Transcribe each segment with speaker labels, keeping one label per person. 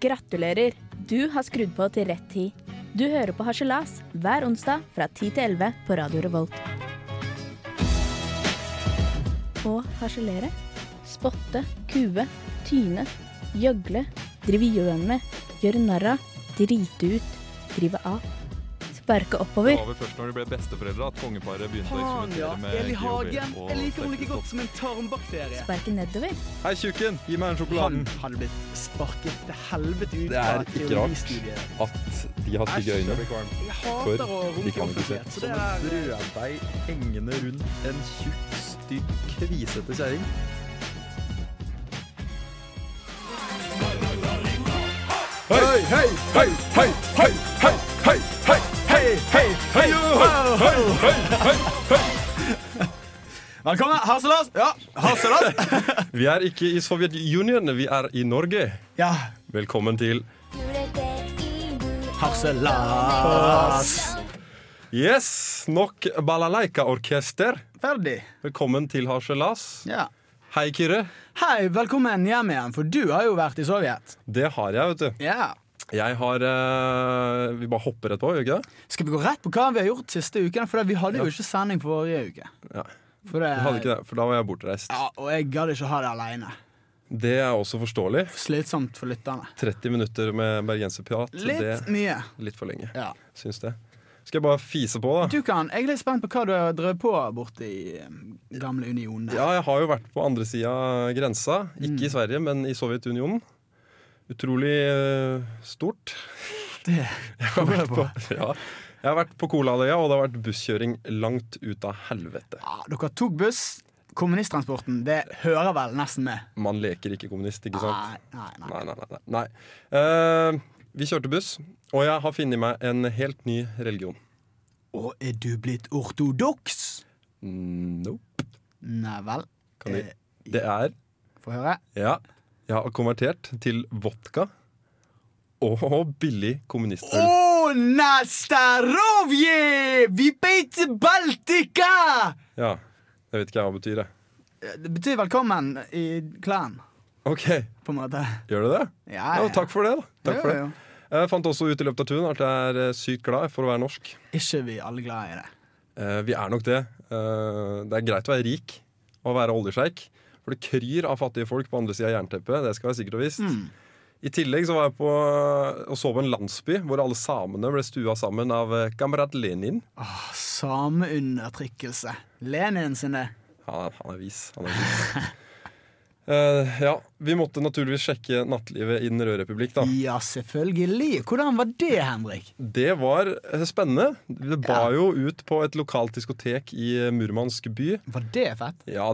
Speaker 1: Gratulerer! Du har skrudd på til rett tid. Du hører på Harselas hver onsdag fra 10 til 11 på Radio Revolt. Å harselere, spotte, kue, tyne, gjøgle, drive gjøn med, gjøre narr av, drite ut, drive av. Sparke
Speaker 2: Det
Speaker 1: oppover.
Speaker 2: var vel først når de ble besteforeldre at kongeparet begynte å
Speaker 3: Faen,
Speaker 2: eksperimentere
Speaker 3: ja.
Speaker 2: med
Speaker 3: Eli Hagen.
Speaker 2: GHB og
Speaker 3: Jeg liker henne like
Speaker 2: sterkstoff.
Speaker 3: godt som en tarmbakterie.
Speaker 1: Sparke nedover.
Speaker 2: Hei, tjukken! Gi meg den
Speaker 3: Han
Speaker 2: sjokoladen!
Speaker 3: hadde blitt sparket til helvete ut
Speaker 4: Det er
Speaker 3: fra
Speaker 4: ikke
Speaker 3: teologistudiet.
Speaker 4: At de har stygge øyne.
Speaker 3: Jeg
Speaker 4: For
Speaker 3: hater å
Speaker 4: de
Speaker 3: runke
Speaker 4: kan ikke se.
Speaker 3: offentlighet, så det er
Speaker 4: brødbeig hengende rundt en tjukk, stygg, kvisete kjerring. Hei, hei, hei, hei, hei, hei, hei, hei, hei, hei, hei, hei, hei, hei, hei.
Speaker 3: Velkommen, Harselas! Ja, Harselas!
Speaker 2: Vi er ikke i Sovjetunionen, vi er i Norge.
Speaker 3: ja,
Speaker 2: Velkommen til
Speaker 3: Harselas!
Speaker 2: Yes! Nok balalaika-orkester.
Speaker 3: Ferdig.
Speaker 2: Velkommen til Harselas.
Speaker 3: Ja.
Speaker 2: Hei, Kyrre.
Speaker 3: Hei, velkommen hjem igjen, for du har jo vært i Sovjet.
Speaker 2: Det har jeg, vet du.
Speaker 3: Ja.
Speaker 2: Jeg har eh, Vi bare hopper rett på, gjør vi ikke det?
Speaker 3: Skal vi gå rett på hva vi har gjort siste uken? For vi hadde jo ikke sending forrige uke.
Speaker 2: Ja.
Speaker 3: For det,
Speaker 2: Jeg hadde ikke det, for da var jeg bortreist.
Speaker 3: Ja, og jeg gadd ikke ha det aleine.
Speaker 2: Det er også forståelig.
Speaker 3: Slitsomt for lytterne.
Speaker 2: 30 minutter med bergenserprat, det
Speaker 3: Litt mye.
Speaker 2: er litt for lenge.
Speaker 3: Ja.
Speaker 2: Syns det. Skal jeg bare fise på, da?
Speaker 3: Du kan, Jeg er litt spent på hva du har drevet på borte i um, gamle Unionen.
Speaker 2: Ja, jeg har jo vært på andre sida av grensa. Ikke i
Speaker 3: Mm.
Speaker 2: Sverige, men i Sovjetunionen. Utrolig eh, stort.
Speaker 3: Det
Speaker 2: Jeg har vært på, ja. Jeg har vært på Kolaløya, og det har vært busskjøring langt ut av helvete.
Speaker 3: Ja, dere tok buss. Kommunisttransporten, det hører vel nesten med.
Speaker 2: Man leker ikke kommunist, ikke sant?
Speaker 3: Nei, nei, nei.
Speaker 2: Nei, nei, nei. nei. nei. Eh, vi kjørte buss, og jeg har funnet meg en helt ny religion.
Speaker 3: Og er du blitt ortodoks?
Speaker 2: No.
Speaker 3: Nei vel.
Speaker 2: Kan vi-
Speaker 3: Eh,
Speaker 2: Det er
Speaker 3: Få høre.
Speaker 2: Ja, jeg har konvertert til vodka og billig kommunistøl.
Speaker 3: Å, nastarovje! Vi beiter Baltika!
Speaker 2: Ja. Jeg vet ikke hva det betyr, jeg.
Speaker 3: Eh, Det betyr velkommen i klærne,
Speaker 2: OK,
Speaker 3: på en måte.
Speaker 2: gjør det det?
Speaker 3: Ja,
Speaker 2: Ja, og takk for det, da. Takk for det.
Speaker 3: Jo, jo.
Speaker 2: Jeg fant også ut i løpet av turen at jeg er eh, sykt glad for å være norsk.
Speaker 3: Ikke vi alle glad i det.
Speaker 2: Eh, Vi er nok det. Eh, Det er greit å være rik og være oljesjeik, for det kryr av fattige folk på andre sida av jernteppet. Det skal jeg sikkert ha visst. I tillegg så var jeg på eh, og så på en landsby hvor alle samene ble stua sammen av eh, kamerat Lenin.
Speaker 3: Åh, Sameundertrykkelse. Lenin sine.
Speaker 2: Han er, han er vis. Han er vis. Eh, ja, vi måtte naturligvis sjekke nattlivet i Den røde republikk, da.
Speaker 3: Ja, selvfølgelig. Hvordan var det, Henrik?
Speaker 2: Det var eh, spennende. Det bar jo ut på et lokalt diskotek i eh, Murmansk by.
Speaker 3: Var det fett?
Speaker 2: Ja,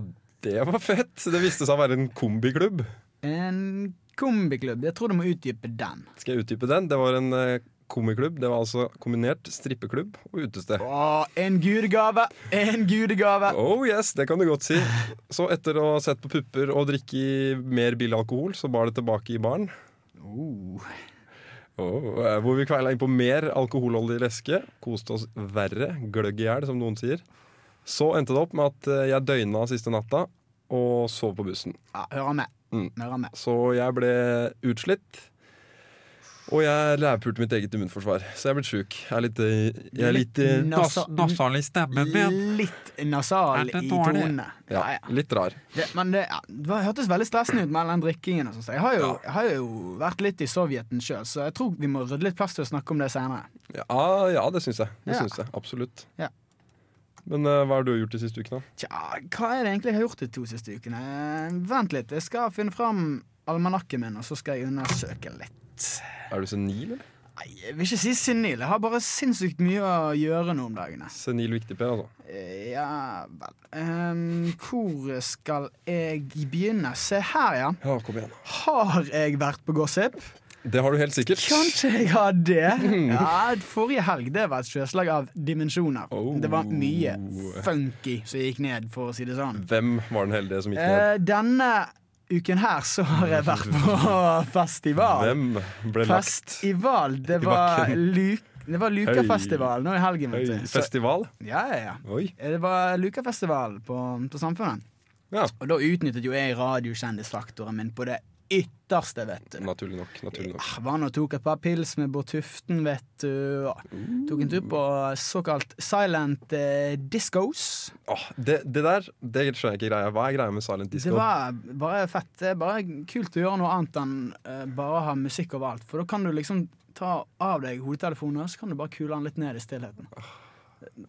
Speaker 2: det var fett. Det viste seg å være en kombiklubb.
Speaker 3: En kombiklubb. Jeg tror du må utdype den.
Speaker 2: Skal jeg utdype den? Det var en eh, komiklubb. Det var altså kombinert strippeklubb og utested.
Speaker 3: Åh, en gudegave! En gudegave!
Speaker 2: Oh yes, det kan du godt si. Så etter å ha sett på pupper og drikke i mer billig alkohol, så bar det tilbake i baren.
Speaker 3: Oh.
Speaker 2: Oh, eh, hvor vi kveila inn på mer alkoholholdig væske. Koste oss verre. Gløgg i hjel, som noen sier. Så endte det opp med at eh, jeg døgna siste natta og sov på bussen.
Speaker 3: Ja, hører med.
Speaker 2: Mm.
Speaker 3: Hører med.
Speaker 2: Så jeg ble utslitt. Og jeg rævpulte mitt eget immunforsvar, så jeg er blitt sjuk. Jeg er litt, eh, jeg er litt eh,
Speaker 3: Nasa-
Speaker 5: Nassalig stemme min.
Speaker 3: Litt nasal
Speaker 5: Er det
Speaker 3: i
Speaker 5: dårlig?
Speaker 3: tonene.
Speaker 2: ja, litt rar.
Speaker 3: Det, men det, ja, det var- hørtes veldig stressende ut med all den drikkingen. Og sånt. jeg, har jo, jeg har jo vært litt i Sovjeten sjøl, så jeg tror vi må rydde litt plass til å snakke om det senere.
Speaker 2: Ja, ja det syns jeg. Det
Speaker 3: Ja.
Speaker 2: syns jeg, Absolutt.
Speaker 3: Ja.
Speaker 2: Men eh, hva har du gjort de siste ukene? da?
Speaker 3: Tja, hva er det egentlig jeg har gjort de to siste ukene? Vent litt, jeg skal finne fram almanakken min, og så skal jeg undersøke litt.
Speaker 2: Er du senil, eller?
Speaker 3: Nei, jeg vil ikke si senil. Jeg har bare sinnssykt mye å gjøre nå om dagene.
Speaker 2: Senil viktig, Per, altså.
Speaker 3: Eh, Ja vel. Ehm, hvor skal jeg begynne? Se her, ja.
Speaker 2: Ja, kom igjen.
Speaker 3: Har jeg vært på gossip?
Speaker 2: Det har du helt sikkert.
Speaker 3: Kanskje jeg har det. Ja, forrige helg det var et sjøslag av dimensjoner.
Speaker 2: Oh.
Speaker 3: Det var mye funky som gikk ned, for å si det sånn.
Speaker 2: Hvem var den heldige som gikk ned?
Speaker 3: Eh, denne uken her så har jeg vært på festival.
Speaker 2: Hvem ble lagt?
Speaker 3: Festival, det var,
Speaker 2: bakken.
Speaker 3: Luk det var Lukafestival nå i helgen.
Speaker 2: Oi,
Speaker 3: Vet du. Så,
Speaker 2: festival?
Speaker 3: ja, ja, ja. Eh,
Speaker 2: Oi.
Speaker 3: Det var Lukafestival på, på Samfunnet.
Speaker 2: Ja.
Speaker 3: Og da utnyttet jo jeg radiokjendisfaktoren min på det ytterste, vet du.
Speaker 2: Naturlig nok. naturlig nok.
Speaker 3: Ah, Var nå og tok et par pils med Bård Tuften, vet du. og Tok en tur på såkalt silent eh, discos.
Speaker 2: Åh, det, det der det skjønner jeg ikke greia. Hva er greia med silent
Speaker 3: Det
Speaker 2: disco?
Speaker 3: var bare fett. Det er bare kult å gjøre noe annet enn eh, bare ha musikk overalt. For da kan du liksom ta av deg hodetelefoner, så kan du bare kule den litt ned i stillheten.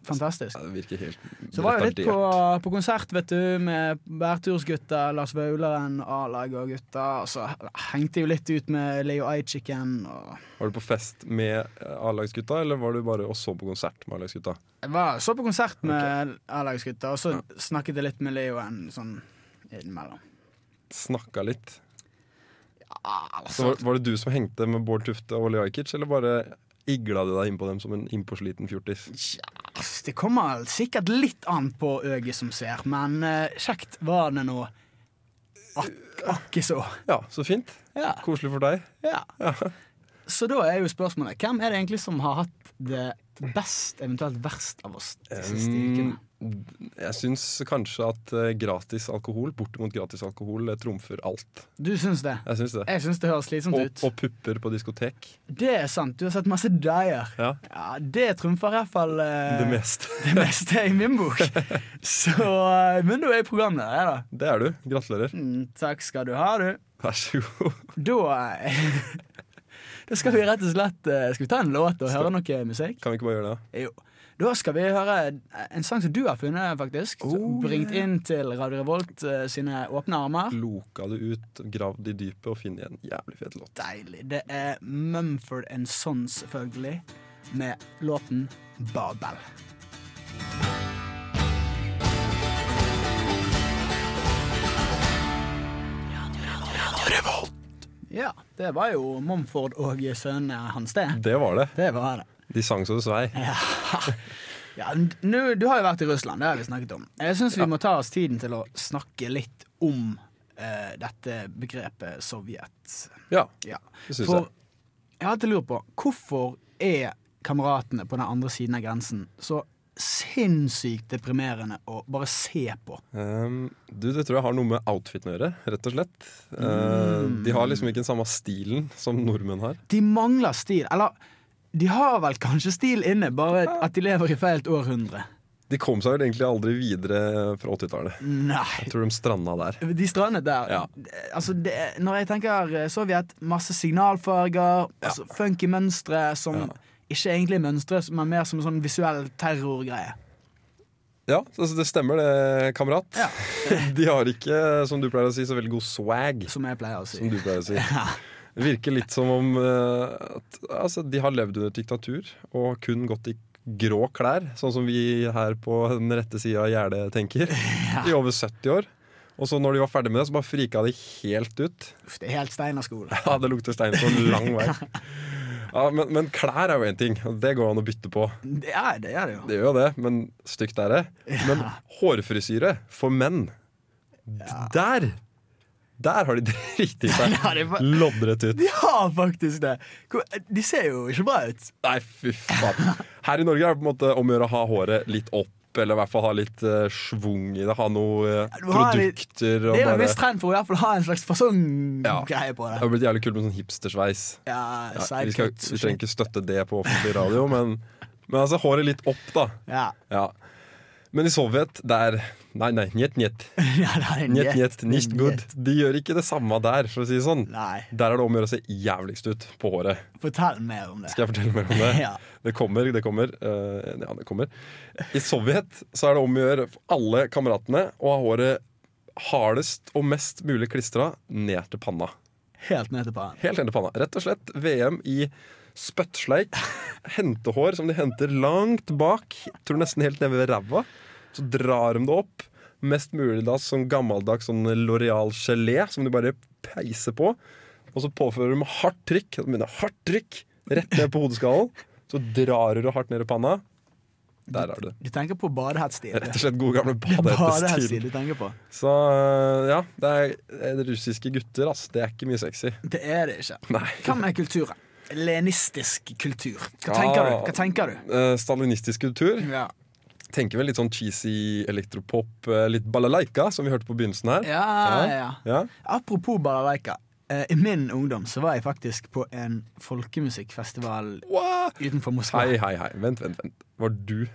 Speaker 3: Fantastisk.
Speaker 2: Ja, det virker helt
Speaker 3: Så var jeg litt på,
Speaker 2: retardert.
Speaker 3: på konsert, vet du, med bærtursgutta, Lars Vaularen, A-lag og gutta. Og så hengte jeg jo litt ut med Leo Ajkiken. Og
Speaker 2: Var du på fest med eh, A-lagsgutta, eller var du bare og så på konsert med A-lagsgutta?
Speaker 3: jeg var, så på konsert med A-lagsgutta, og så snakket jeg litt med Leo en sånn innimellom.
Speaker 2: Snakka litt.
Speaker 3: Ah, altså.
Speaker 2: Så var, var det du som hengte med Bård Tufte og Olli Ajkic, eller bare igla du deg innpå dem som en innpåsliten fjortis?
Speaker 3: Ass, Det kommer sikkert litt an på øyet som ser, men eh, kjekt var det nå. Ak Akke så.
Speaker 2: Ja, så fint.
Speaker 3: Ja,
Speaker 2: Koselig for deg.
Speaker 3: ja. Så da er jo spørsmålet hvem er det egentlig som har hatt det best, eventuelt verst, av oss de siste ukene?
Speaker 2: Mm, Jeg syns kanskje at eh, gratis alkohol, bortimot gratis alkohol, eh, trumfer alt.
Speaker 3: Du syns det?
Speaker 2: Jeg syns det.
Speaker 3: Jeg syns det høres slitsomt
Speaker 2: Og,
Speaker 3: ut.
Speaker 2: og pupper på diskotek.
Speaker 3: Det er sant. Du har sett masse dyer.
Speaker 2: Ja,
Speaker 3: Ja, det trumfer i hvert fall eh,
Speaker 2: det meste.
Speaker 3: det meste i min bok. Så eh, Men du er programleder, jeg, da.
Speaker 2: Det er du. Gratulerer.
Speaker 3: Mm, takk skal du ha, du.
Speaker 2: Vær så god.
Speaker 3: Da Da skal vi rett og slett eh, Skal vi ta en låt og høre noe musikk?
Speaker 2: Kan vi ikke bare gjøre det?
Speaker 3: Jo. Da skal vi høre en sang som du har funnet, faktisk.
Speaker 2: Oh,
Speaker 3: bringt inn til Radio Revolt eh, sine åpne armer.
Speaker 2: Loka det ut, gravd i dypet og funnet en jævlig fet låt.
Speaker 3: Deilig. Det er Mumford and Sons, selvfølgelig, med låten Babel. Ja, det var jo Mumford og sønnene hans, det.
Speaker 2: Det var det.
Speaker 3: Det var det.
Speaker 2: De sang så det svei.
Speaker 3: Ja. Ja, n- nå- du har jo vært i Russland, det har vi snakket om. Jeg syns vi må ta oss tiden til å snakke litt om eh, dette begrepet Sovjet.
Speaker 2: Ja,
Speaker 3: Ja.
Speaker 2: det syns jeg.
Speaker 3: For jeg har alltid lurt på hvorfor er kameratene på den andre siden av grensen så sinnssykt deprimerende å bare se på?
Speaker 2: Ehm, du, det tror jeg har noe med outfiten å gjøre, rett og slett. Eh, de har liksom ikke den samme stilen som nordmenn har.
Speaker 3: De mangler stil. Eller de har vel kanskje stil inne, bare at de lever i feil århundre.
Speaker 2: De kom seg vel egentlig aldri videre fra 80-tallet.
Speaker 3: Nei.
Speaker 2: Jeg tror de stranda der.
Speaker 3: De strandet der.
Speaker 2: Ja.
Speaker 3: Altså, det, når jeg tenker eh, Sovjet, masse signalfarger, altså funky mønstre som
Speaker 2: Ja.
Speaker 3: ikke egentlig er mønstre, men mer som en sånn visuell terrorgreie.
Speaker 2: Ja, altså det stemmer det, kamerat.
Speaker 3: Ja.
Speaker 2: De har ikke, som du pleier å si, så veldig god swag.
Speaker 3: Som jeg pleier å si.
Speaker 2: Som du pleier å si. Det virker litt som om eh, at, altså, de har levd under diktatur og kun gått i grå klær, sånn som vi her på den rette sida av gjerdet tenker, i over 70 år. Og så når de var ferdig med det, så bare frika de helt ut.
Speaker 3: Uff, det er helt Steinerskole.
Speaker 2: Ja, Det lukter stein på en lang vei. Ja, men, men klær er jo én ting, og det går an å bytte på.
Speaker 3: Det er det, er det jo.
Speaker 2: Det gjør jo det, men stygt er det. Men hårfrisyre for menn, d- der Der har de driti seg
Speaker 3: Ja, det er bare-
Speaker 2: loddrett ut.
Speaker 3: De har faktisk det! Hvor- De ser jo ikke bra ut.
Speaker 2: Nei, fy faen. Her i Norge er det på en måte om å gjøre å ha håret litt opp. Eller i hvert fall ha litt eh, schwung i det. Ha noen
Speaker 3: du har litt-
Speaker 2: produkter.
Speaker 3: Det er jo
Speaker 2: og
Speaker 3: en
Speaker 2: bare,
Speaker 3: viss trend for å i hvert fall ha en slags fasonggreie på
Speaker 2: det
Speaker 3: det.
Speaker 2: har blitt jævlig kult med sånn hipstersveis.
Speaker 3: Ja,
Speaker 2: Ja, vi, skal, vi
Speaker 3: sidecut og
Speaker 2: trenger
Speaker 3: shit.
Speaker 2: ikke støtte det på offentlig radio, men, men altså håret litt opp, da.
Speaker 3: Ja.
Speaker 2: Ja. Men i Sovjet, der Nei, nei, njet, njet.
Speaker 3: ja, det er en
Speaker 2: Njet,
Speaker 3: jet.
Speaker 2: njet, nicht good. De gjør ikke det samme der, for å si det sånn.
Speaker 3: Nei,
Speaker 2: Der er det om å gjøre å se jævligst ut på håret.
Speaker 3: fortell mer om det.
Speaker 2: Skal jeg fortelle mer om det?
Speaker 3: Ja.
Speaker 2: Det kommer, det kommer. eh, ja, det kommer. I Sovjet så er det om å gjøre for alle kameratene å ha håret hardest og mest mulig klistra ned til panna.
Speaker 3: Helt ned til pannen.
Speaker 2: Helt ned til panna. Rett og slett VM i spyttsleik. Hentehår som de henter langt bak. Tror nesten helt nede ved ræva. Så drar de det opp. Mest mulig da som gammeldags sånn Loreal-gelé som de bare peiser på. Og så påfører de hardt trykk. De begynner hardt trykk rett ned på hodeskallen. Så drar du det hardt ned i panna. Der er du.
Speaker 3: Du tenker på badehettstil.
Speaker 2: Rett og slett gode gamle
Speaker 3: Badehettstil
Speaker 2: badehettestil.
Speaker 3: du tenker på.
Speaker 2: Så ja, det er eh, det russiske gutter, ass. Det er ikke mye sexy.
Speaker 3: Det er det ikke.
Speaker 2: Nei.
Speaker 3: Hva med kulturen? Lenistisk kultur. Hva tenker du? Hva tenker du?
Speaker 2: Eh, stalinistisk kultur.
Speaker 3: Ja,
Speaker 2: tenker vel litt sånn cheesy elektropop, eh, litt balalaika, som vi hørte på begynnelsen her.
Speaker 3: ja, ja.
Speaker 2: Ja.
Speaker 3: Apropos balalaika. Eh, I min ungdom så var jeg faktisk på en folkemusikkfestival
Speaker 2: Wow!
Speaker 3: utenfor Moskva.
Speaker 2: Hei, hei, hei. Vent, vent. vent. Var du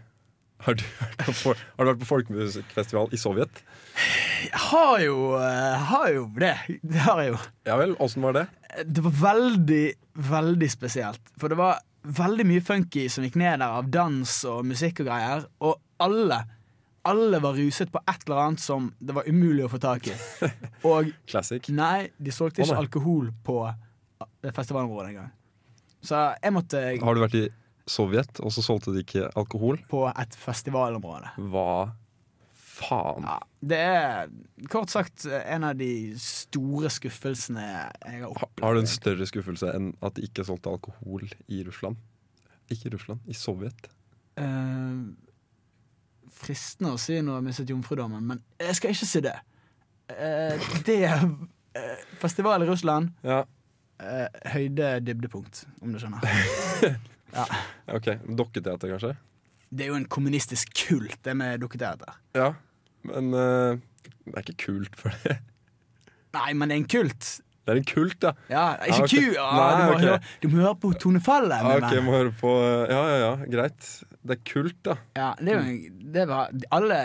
Speaker 2: har du, vært på, for- har du vært på folkemusikkfestival i Sovjet?
Speaker 3: Jeg har jo, eh, har jo det. Det har jeg jo.
Speaker 2: Ja vel, åssen var det?
Speaker 3: Det var veldig, veldig spesielt. For det var veldig mye funky som gikk ned der av dans og musikk og greier. Og alle, alle var ruset på et eller annet som det var umulig å få tak i. Og
Speaker 2: Classic.
Speaker 3: nei, de solgte
Speaker 2: Å,
Speaker 3: ikke
Speaker 2: nei.
Speaker 3: alkohol på eh, festivalområdet engang. Så jeg måtte
Speaker 2: Har du vært i Sovjet, og så solgte de ikke alkohol?
Speaker 3: på et festivalområde.
Speaker 2: Hva faen?
Speaker 3: Ja, det er kort sagt eh, en av de store skuffelsene jeg har
Speaker 2: Ha-
Speaker 3: opplevd.
Speaker 2: Har du en større skuffelse enn at de ikke solgte alkohol i Russland? Ikke i Russland, i Sovjet.
Speaker 3: Eh, fristende å si noe om mistet jomfrudommen, men jeg skal ikke si det. Eh, det er eh, festival i Russland.
Speaker 2: Ja,
Speaker 3: eh, høyde dybdepunkt, om du skjønner.
Speaker 2: ok. Dokketeater, kanskje?
Speaker 3: Det er jo en kommunistisk kult, det med dukketeater.
Speaker 2: Ja. Men eh, det er ikke kult for det.
Speaker 3: Nei, men det er en kult.
Speaker 2: Det er en kult, ja.
Speaker 3: Ja, det
Speaker 2: Ja,
Speaker 3: er ikke
Speaker 2: Ah, ok.
Speaker 3: ku! Ja, du,
Speaker 2: Nei,
Speaker 3: må
Speaker 2: ok.
Speaker 3: høre, du må høre på tonefallet.
Speaker 2: Ja,
Speaker 3: min
Speaker 2: ok,
Speaker 3: venn.
Speaker 2: må høre på eh, Ja, ja, ja, greit. Det er kult, da.
Speaker 3: Ja, det er jo en- det var, Alle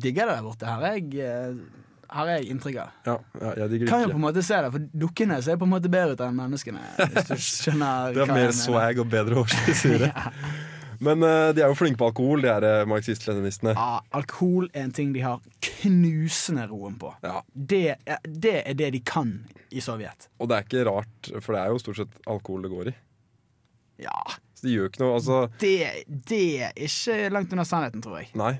Speaker 3: digger det der borte. Her er jeg, eh, her er jeg inntrykk av.
Speaker 2: Ja, ja jeg digger
Speaker 3: Kan jo
Speaker 2: det
Speaker 3: på en
Speaker 2: ikke.
Speaker 3: måte se det, for dukkene ser på en måte bedre ut enn menneskene. Hvis du skjønner
Speaker 2: Det er
Speaker 3: hva
Speaker 2: mer
Speaker 3: jeg mener.
Speaker 2: swag og bedre årsdesirer. Men eh, de er jo flinke på alkohol, de her eh, marxist-leninistene.
Speaker 3: Ja, Ah, alkohol er en ting de har knusende roen på.
Speaker 2: Ja,
Speaker 3: Det er, det er det de kan i Sovjet.
Speaker 2: og det er ikke rart, for det er jo stort sett alkohol det går i.
Speaker 3: Ja,
Speaker 2: Så de gjør jo ikke noe. altså...
Speaker 3: det, det er ikke langt unna sannheten, tror jeg.
Speaker 2: Nei,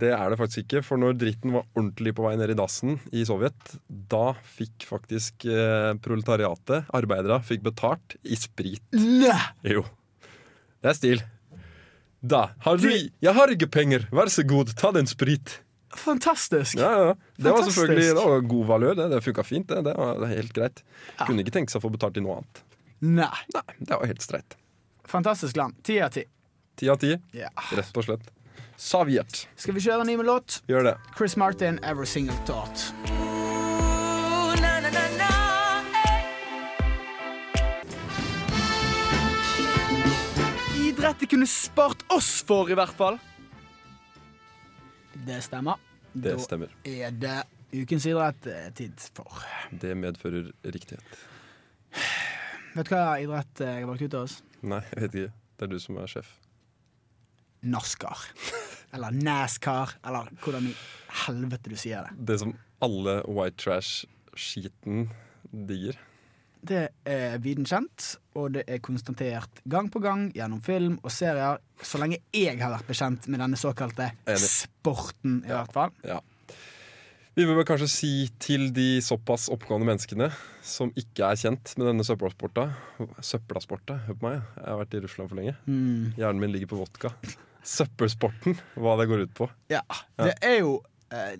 Speaker 2: det er det faktisk ikke. For når dritten var ordentlig på vei ned i dassen i Sovjet, da fikk faktisk eh, proletariatet, arbeidere, fikk betalt i sprit.
Speaker 3: Nei!
Speaker 2: Jo. Det er stil. Da har du Jeg har ikke penger, vær så god, ta den sprit.
Speaker 3: Fantastisk!
Speaker 2: Ja, ja. Det var
Speaker 3: Fantastisk.
Speaker 2: selvfølgelig det var god valør, det. Det funka fint, det. Det var det er helt greit. Kunne ikke tenke seg å få betalt i noe annet.
Speaker 3: Nei.
Speaker 2: Nei, det var helt streit.
Speaker 3: Fantastisk land. Ti av ti.
Speaker 2: Ti av ti,
Speaker 3: Ja.
Speaker 2: rett og slett. Sovjet.
Speaker 3: Skal vi kjøre en ny med låt?
Speaker 2: Gjør det.
Speaker 3: Chris Martin, 'Every Single Thought'. Idrett de kunne spart oss for, i hvert fall. Det stemmer.
Speaker 2: Det stemmer.
Speaker 3: Da er det ukens idrett eh, tid for.
Speaker 2: Det medfører riktighet.
Speaker 3: Vet du hva idrett eh, jeg valgte ut av oss?
Speaker 2: Nei, jeg vet ikke. Det er du som er sjef.
Speaker 3: NASCAR. Eller NASCAR, eller hvordan i helvete du sier det.
Speaker 2: Det som alle white trash-skiten digger.
Speaker 3: Det er viden kjent, og det er konstatert gang på gang gjennom film og serier, så lenge jeg har vært bekjent med denne såkalte
Speaker 2: Enig.
Speaker 3: sporten, i hvert fall.
Speaker 2: Ja. Vi bør vel kanskje si til de såpass oppegående menneskene som ikke er kjent med denne søppelsporta Søppelsporta, hør på meg, jeg har vært i Russland for lenge.
Speaker 3: Hmm.
Speaker 2: Hjernen min ligger på vodka. Søppelsporten, hva det går ut på.
Speaker 3: Ja, Det er jo eh,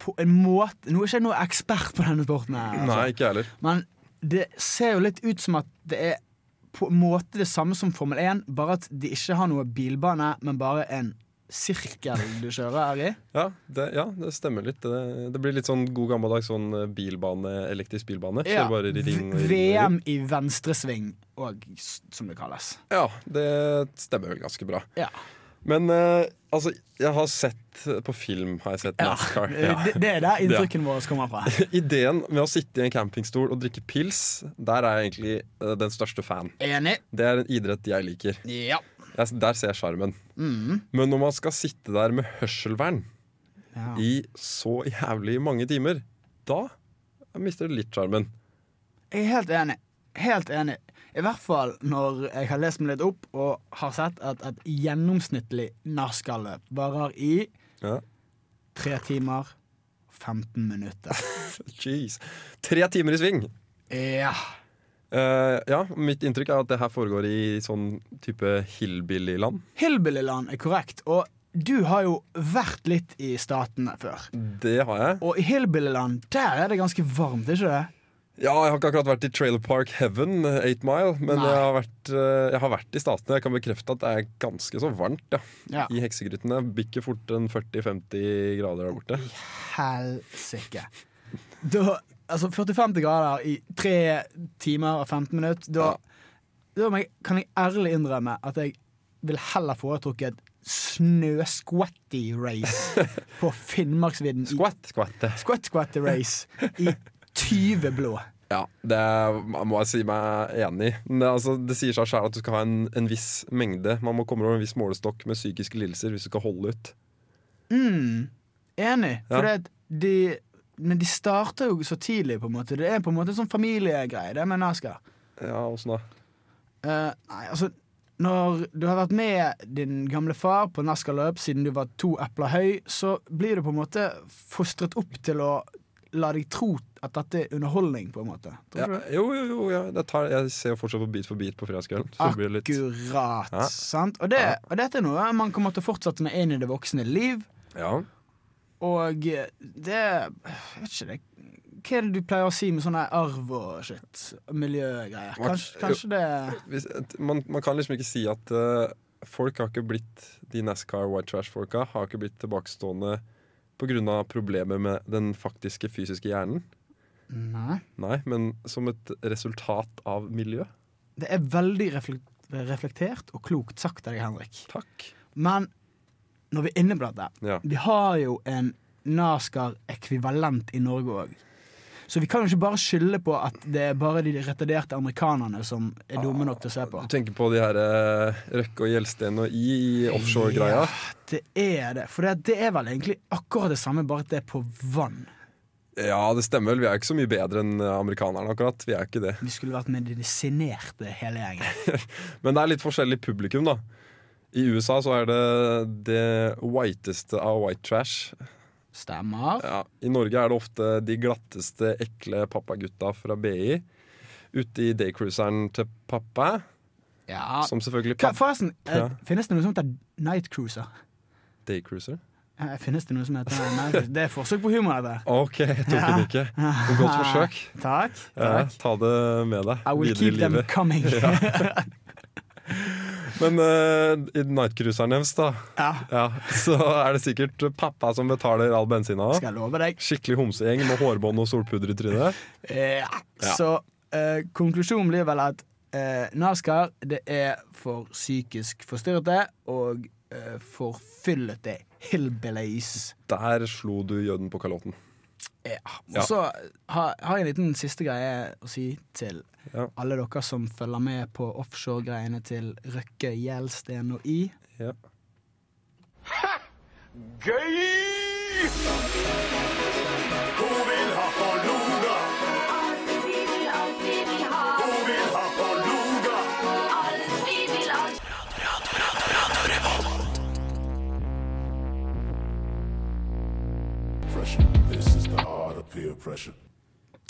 Speaker 3: på en måte Nå er ikke jeg noen ekspert på denne sporten, her, altså.
Speaker 2: Nei, ikke jeg heller.
Speaker 3: men det ser jo litt ut som at det er på en måte det samme som Formel 1, bare at de ikke har noe bilbane, men bare en sirkel du kjører i.
Speaker 2: Ja, det, ja, det stemmer litt. Det, det blir litt sånn god gammeldags sånn bilbane, elektrisk bilbane. Kjører bare i ring og i ring og i ring.
Speaker 3: VM i venstresving òg, som det kalles.
Speaker 2: Ja, det stemmer vel ganske bra.
Speaker 3: Ja.
Speaker 2: Men eh, altså, jeg har sett på film har jeg sett NASCAR. Ja.
Speaker 3: Det, det er der inntrykkene våre kommer fra.
Speaker 2: Ideen med å sitte i en campingstol og drikke pils, der er jeg egentlig eh, den største fan.
Speaker 3: Enig.
Speaker 2: Det er en idrett jeg liker.
Speaker 3: Ja. Mm.
Speaker 2: Jeg, der ser jeg sjarmen. Men når man skal sitte der med hørselvern
Speaker 3: Ja.
Speaker 2: i så jævlig mange timer, da mister det litt sjarmen.
Speaker 3: Jeg er helt enig. Helt enig. I hvert fall når jeg har lest meg litt opp og har sett at et gjennomsnittlig nachspiel-løp varer i
Speaker 2: Ja.
Speaker 3: tre timer 15 minutter.
Speaker 2: Jeez. Tre timer i sving!
Speaker 3: Ja.
Speaker 2: Eh, ja, mitt inntrykk er at det her foregår i sånn type hillbilly-land.
Speaker 3: Hillbillyland er korrekt, og du har jo vært litt i statene før.
Speaker 2: Det har jeg.
Speaker 3: Og i Hillbillyland, der er det ganske varmt, er ikke det?
Speaker 2: Ja, Jeg har ikke akkurat vært i Trailer Park Heaven, eh, Eight Mile, men
Speaker 3: Nei.
Speaker 2: jeg har, vært, eh, jeg har vært i Statene. Jeg kan bekrefte at det er ganske så varmt ja,
Speaker 3: Ja.
Speaker 2: i heksegrytene. Bikker fort en 40-50 grader der borte.
Speaker 3: Helsike. Da altså 45 grader i 3 timer og 15 minutter, da,
Speaker 2: Ja.
Speaker 3: da må jeg, kan jeg ærlig innrømme at jeg vil heller foretrukket snøskvatty race på Finnmarksvidden. i-
Speaker 2: Skvatt, skvatte.
Speaker 3: Skvatt-skvatty race i 20 blå.
Speaker 2: Ja, det må jeg si meg enig i. Men det, altså, det sier seg sjøl at du skal ha en, en viss mengde. Man må komme over en viss målestokk med psykiske lidelser hvis du skal holde ut.
Speaker 3: Mm, enig.
Speaker 2: Ja.
Speaker 3: For det at de men de starter jo så tidlig, på en måte. Det er på en måte en sånn familiegreie, det med Naskar.
Speaker 2: Ja, åssen da?
Speaker 3: Eh, nei, altså Når du har vært med din gamle far på Nazca-løp siden du var to epler høy, så blir du på en måte fostret opp til å la deg tro at dette er underholdning, på en måte.
Speaker 2: Ja,
Speaker 3: Tror du det?
Speaker 2: jo, jo, jo. Ja. Det tar, jeg ser jo fortsatt på Beat for beat på fredagskvelden.
Speaker 3: Ah,
Speaker 2: Så det blir litt
Speaker 3: Akkurat.
Speaker 2: Ja.
Speaker 3: Sant? Og, det, og dette er noe man kommer til å fortsette med inn i det voksne liv,
Speaker 2: Ja.
Speaker 3: og eh, det Jeg vet ikke, det Hva er det du pleier å si med sånne arv og shit? Miljøgreier. Kanskje, kanskje det
Speaker 2: Hvis, et- man, man kan liksom ikke si at eh, folk har ikke blitt De NASCAR White Trash-folka har ikke blitt tilbakestående pga. problemer med den faktiske fysiske hjernen.
Speaker 3: Nei.
Speaker 2: Nei, men som et resultat av miljø.
Speaker 3: Det er veldig reflek- reflektert og klokt sagt av deg, Henrik.
Speaker 2: Takk.
Speaker 3: Men når vi er inne på dette
Speaker 2: Ja.
Speaker 3: Vi har jo en NASCAR-ekvivalent i Norge òg. Så vi kan jo ikke bare skylde på at det er bare de retarderte amerikanerne som er dumme nok til å se på.
Speaker 2: Du tenker på de her eh, Røkke og Gjelsten og I i offshore-greia?
Speaker 3: Det er det. For det, det er vel egentlig akkurat det samme, bare at det er på vann.
Speaker 2: Ja, det stemmer vel. Vi er ikke så mye bedre enn eh, amerikanerne, akkurat. Vi er ikke det.
Speaker 3: Vi skulle vært medisinerte, hele gjengen.
Speaker 2: Men det er litt forskjellig publikum, da. I USA så er det det whiteste av white trash.
Speaker 3: Stemmer.
Speaker 2: Ja, I Norge er det ofte de glatteste, ekle pappagutta fra BI. Ute i daycruiseren til pappa,
Speaker 3: Ja.
Speaker 2: som selvfølgelig
Speaker 3: Hva,
Speaker 2: pappa
Speaker 3: forresten, eh,
Speaker 2: Ja.
Speaker 3: finnes det noe som heter night cruiser?
Speaker 2: Daycruiser?
Speaker 3: Eh, Finnes det noe som heter night cruiser? Det er forsøk på humor, dette.
Speaker 2: OK, jeg tok den ikke. Godt forsøk.
Speaker 3: Takk.
Speaker 2: Ja,
Speaker 3: takk.
Speaker 2: ta det med deg
Speaker 3: I will
Speaker 2: videre i
Speaker 3: keep them
Speaker 2: livet.
Speaker 3: coming.
Speaker 2: Men eh, i nightcruiseren deres, da,
Speaker 3: ja.
Speaker 2: ja, så er det sikkert pappa som betaler all bensina.
Speaker 3: Skal jeg love deg.
Speaker 2: Skikkelig homsegjeng med hårbånd og solpudder i trynet.
Speaker 3: Ja.
Speaker 2: Ja.
Speaker 3: Så eh, konklusjonen blir vel at eh, NASCAR det er for psykisk forstyrrete og eh, forfyllete hillbillies.
Speaker 2: Der slo du jøden på kalotten.
Speaker 3: Ja.
Speaker 2: Ja.
Speaker 3: Og så har har jeg en liten siste greie å si til
Speaker 2: Ja.
Speaker 3: alle dere som følger med på offshore-greiene til Røkke, Gjelsten og I.
Speaker 2: Ja.
Speaker 4: Gøy! Hun vil ha Beluga.
Speaker 5: Alt vi vil, alt vi vil ha.
Speaker 4: Hun vil ha Beluga.
Speaker 5: Alt vi vil, alt
Speaker 6: pressure. This is the art of peer pressure.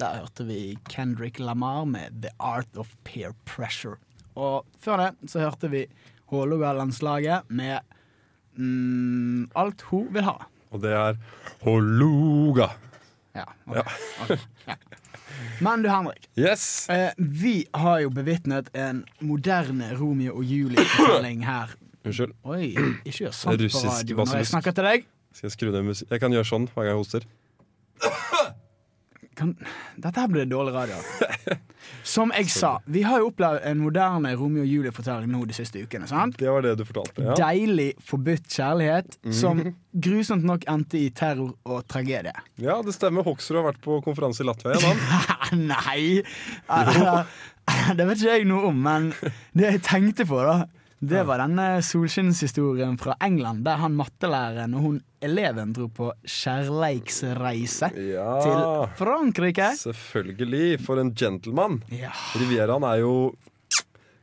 Speaker 3: Der hørte vi Kendrick Lamar med The Art of Peer Pressure. Og før det så hørte vi Hålogalandslaget med mm, Alt hun vil ha.
Speaker 2: Og det er hologa.
Speaker 3: Ja, ok, ok, ja. Men du, Henrik.
Speaker 2: Yes!
Speaker 3: Eh, vi har jo bevitnet en moderne Romeo og Julie-fortelling her.
Speaker 2: Unnskyld.
Speaker 3: Oi, ikke gjør sånt på
Speaker 2: Russisk
Speaker 3: radio når jeg
Speaker 2: basilisk.
Speaker 3: snakker til deg.
Speaker 2: Skal jeg skru ned musikk? Jeg kan gjøre sånn hver gang jeg hoster.
Speaker 3: kan, Dette her blir dårlig radio. Som jeg sa, vi har jo opplevd en moderne Romeo og Julie-fortelling nå de siste ukene. sant?
Speaker 2: Det var det du fortalte. Ja. Mhm.
Speaker 3: Deilig forbudt kjærlighet, som grusomt nok endte i terror og tragedie.
Speaker 2: ja, det stemmer. Hoksrud har vært på konferanse i Latvia. Da.
Speaker 3: Nei! Eller, det vet ikke jeg noe om, men det jeg tenkte på, da, det var denne solskinnshistorien fra England, der han mattelæreren og hun eleven dro på kjærleiksreise til
Speaker 2: Ja,
Speaker 3: Frankrike.
Speaker 2: selvfølgelig. For en gentleman.
Speaker 3: Ja,
Speaker 2: Rivieraen er jo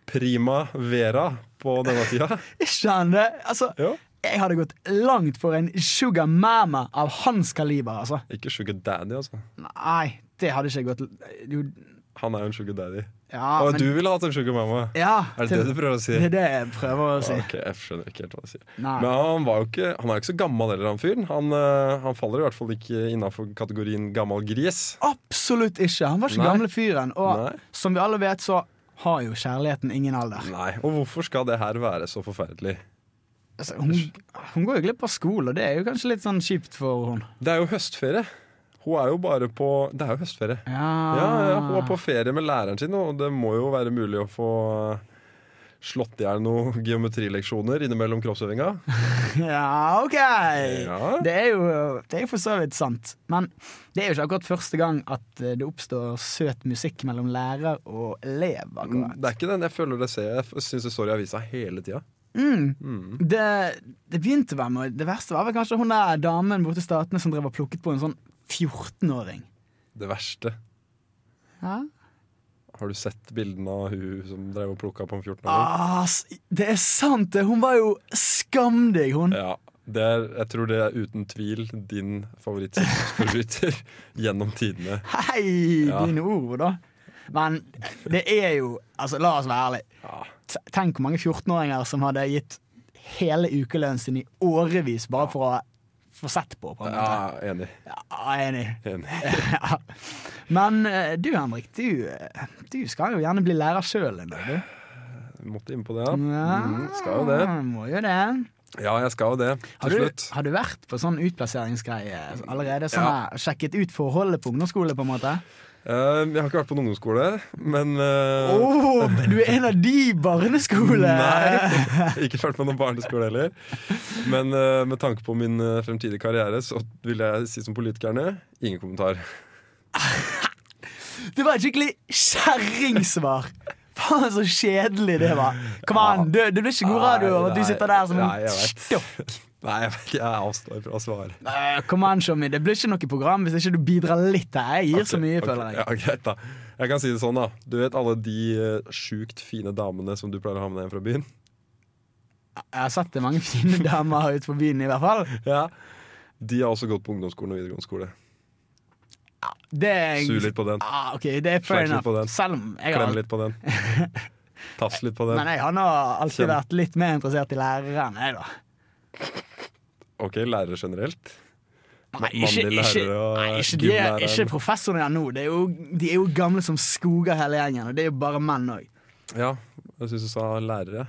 Speaker 2: prima vera på denne tida.
Speaker 3: ikke han det? Altså,
Speaker 2: Ja.
Speaker 3: jeg hadde gått langt for en sugar mama av hans kaliber, altså.
Speaker 2: Ikke Sugar Daddy, altså.
Speaker 3: Nei, det hadde ikke jeg gått l- Jo,
Speaker 2: Han er jo en Sugar Daddy.
Speaker 3: ja,
Speaker 2: Og
Speaker 3: men-
Speaker 2: du ville hatt en Sugar Mama.
Speaker 3: Ja,
Speaker 2: Er det det du prøver å si?
Speaker 3: Det er det jeg prøver å si.
Speaker 2: Ok, jeg skjønner ikke helt hva du sier.
Speaker 3: Nei.
Speaker 2: Men han, var jo ikke, han er jo ikke så gammel heller, han fyren. Han, eh, han faller i hvert fall ikke innafor kategorien gammel gris.
Speaker 3: Absolutt ikke! Han var ikke
Speaker 2: Nei.
Speaker 3: gamle fyren. Og
Speaker 2: Nei.
Speaker 3: som vi alle vet, så har jo kjærligheten ingen alder.
Speaker 2: Nei, Og hvorfor skal det her være så forferdelig?
Speaker 3: Altså, hun, hun går jo glipp av skole, og det er jo kanskje litt sånn kjipt for hun.
Speaker 2: Det er jo høstferie. Hun er jo bare på Det er jo høstferie.
Speaker 3: Ja,
Speaker 2: Ja, ja, Hun
Speaker 3: Ah.
Speaker 2: er på ferie med læreren sin, og det må jo være mulig å få eh, slått i hjel noen geometrileksjoner innimellom kroppsøvinga.
Speaker 3: Ja, ok!
Speaker 2: Ja.
Speaker 3: Det er jo det er jo for så vidt sant. Men det er jo ikke akkurat første gang at eh, det oppstår søt musikk mellom lærer og elev. akkurat.
Speaker 2: Det er ikke den jeg føler det ser. Jeg syns det står i avisa hele tida.
Speaker 3: Mm.
Speaker 2: Mm.
Speaker 3: Det, det begynte vel med Det verste var vel kanskje hun der damen borte i Statene som drev og plukket på en sånn 14-åring.
Speaker 2: Det verste.
Speaker 3: Ja.
Speaker 2: Har du sett bildene av hun som drev og plukka på en 14-åring?
Speaker 3: Ah, s- det er sant, det! Hun var jo Skam deg, hun!
Speaker 2: Ja, det er, jeg tror det er uten tvil din favorittforbryter gjennom tidene.
Speaker 3: Hei,
Speaker 2: Ja.
Speaker 3: dine ord, da. Men det er jo Altså, la oss være ærlige. T- Tenk hvor mange 14-åringer som hadde gitt hele ukelønnen sin i årevis bare for å få sett på. på en måte.
Speaker 2: Ja, enig.
Speaker 3: Ja, jeg er enig.
Speaker 2: enig.
Speaker 3: Ja. Men eh, du, Henrik, du, eh, du skal jo gjerne bli lærer sjøl en dag, du.
Speaker 2: Måtte inn på det, ja.
Speaker 3: Ja,
Speaker 2: Mm, skal jo det.
Speaker 3: Må jo det.
Speaker 2: Ja, jeg skal jo det. Til
Speaker 3: Har du,
Speaker 2: slutt.
Speaker 3: har du vært på sånn utplasseringsgreie allerede? Sånn her, sjekket ut forholdet på ungdomsskole, på en måte?
Speaker 2: Eh, jeg har ikke vært på noen ungdomsskole, men eh,
Speaker 3: Åh, du er en av de barneskole!
Speaker 2: Nei, ikke vært på noen barneskole heller. Men eh, med tanke på min eh, fremtidige karriere, så vil jeg si som politikerne ingen kommentar.
Speaker 3: Det var et skikkelig kjerringsvar! Faen, så kjedelig det var. Kom an, du, det blir ikke god radio av at du
Speaker 2: Nei,
Speaker 3: sitter der som
Speaker 2: nei, jeg
Speaker 3: en
Speaker 2: vet.
Speaker 3: stokk.
Speaker 2: Nei, jeg, vet ikke, jeg avstår fra å svare.
Speaker 3: Nei, Kom an, Shommy. Det blir ikke noe program hvis ikke du bidrar litt her. Jeg gir så mye,
Speaker 2: Ok,
Speaker 3: føler jeg.
Speaker 2: Ja, greit da Jeg kan si det sånn, da. Du vet alle de eh, sjukt fine damene som du pleier å ha med deg hjem fra byen?
Speaker 3: Jeg har sett det mange fine damer ute på byen, i hvert fall.
Speaker 2: Ja De har også gått på ungdomsskolen og videregående skole.
Speaker 3: Det er
Speaker 2: Su litt på den.
Speaker 3: Ah, ok, det er fair
Speaker 2: Slekk litt
Speaker 3: enough.
Speaker 2: på den.
Speaker 3: Selv om jeg
Speaker 2: Klem
Speaker 3: har,
Speaker 2: litt på den. Tass litt på
Speaker 3: men
Speaker 2: den.
Speaker 3: jeg har nå alltid
Speaker 2: Kjem.
Speaker 3: vært litt mer interessert i læreren, jeg, da.
Speaker 2: OK, lærere generelt.
Speaker 3: Nei,
Speaker 2: Mannlige
Speaker 3: ikke, ikke,
Speaker 2: lærere og
Speaker 3: nei, ikke, de er,
Speaker 2: gymlæreren.
Speaker 3: ikke professorene er nå. De er, jo, de er jo gamle som skoger hele gjengen, og det er jo bare menn òg.
Speaker 2: Ja, jeg syns du sa lærere.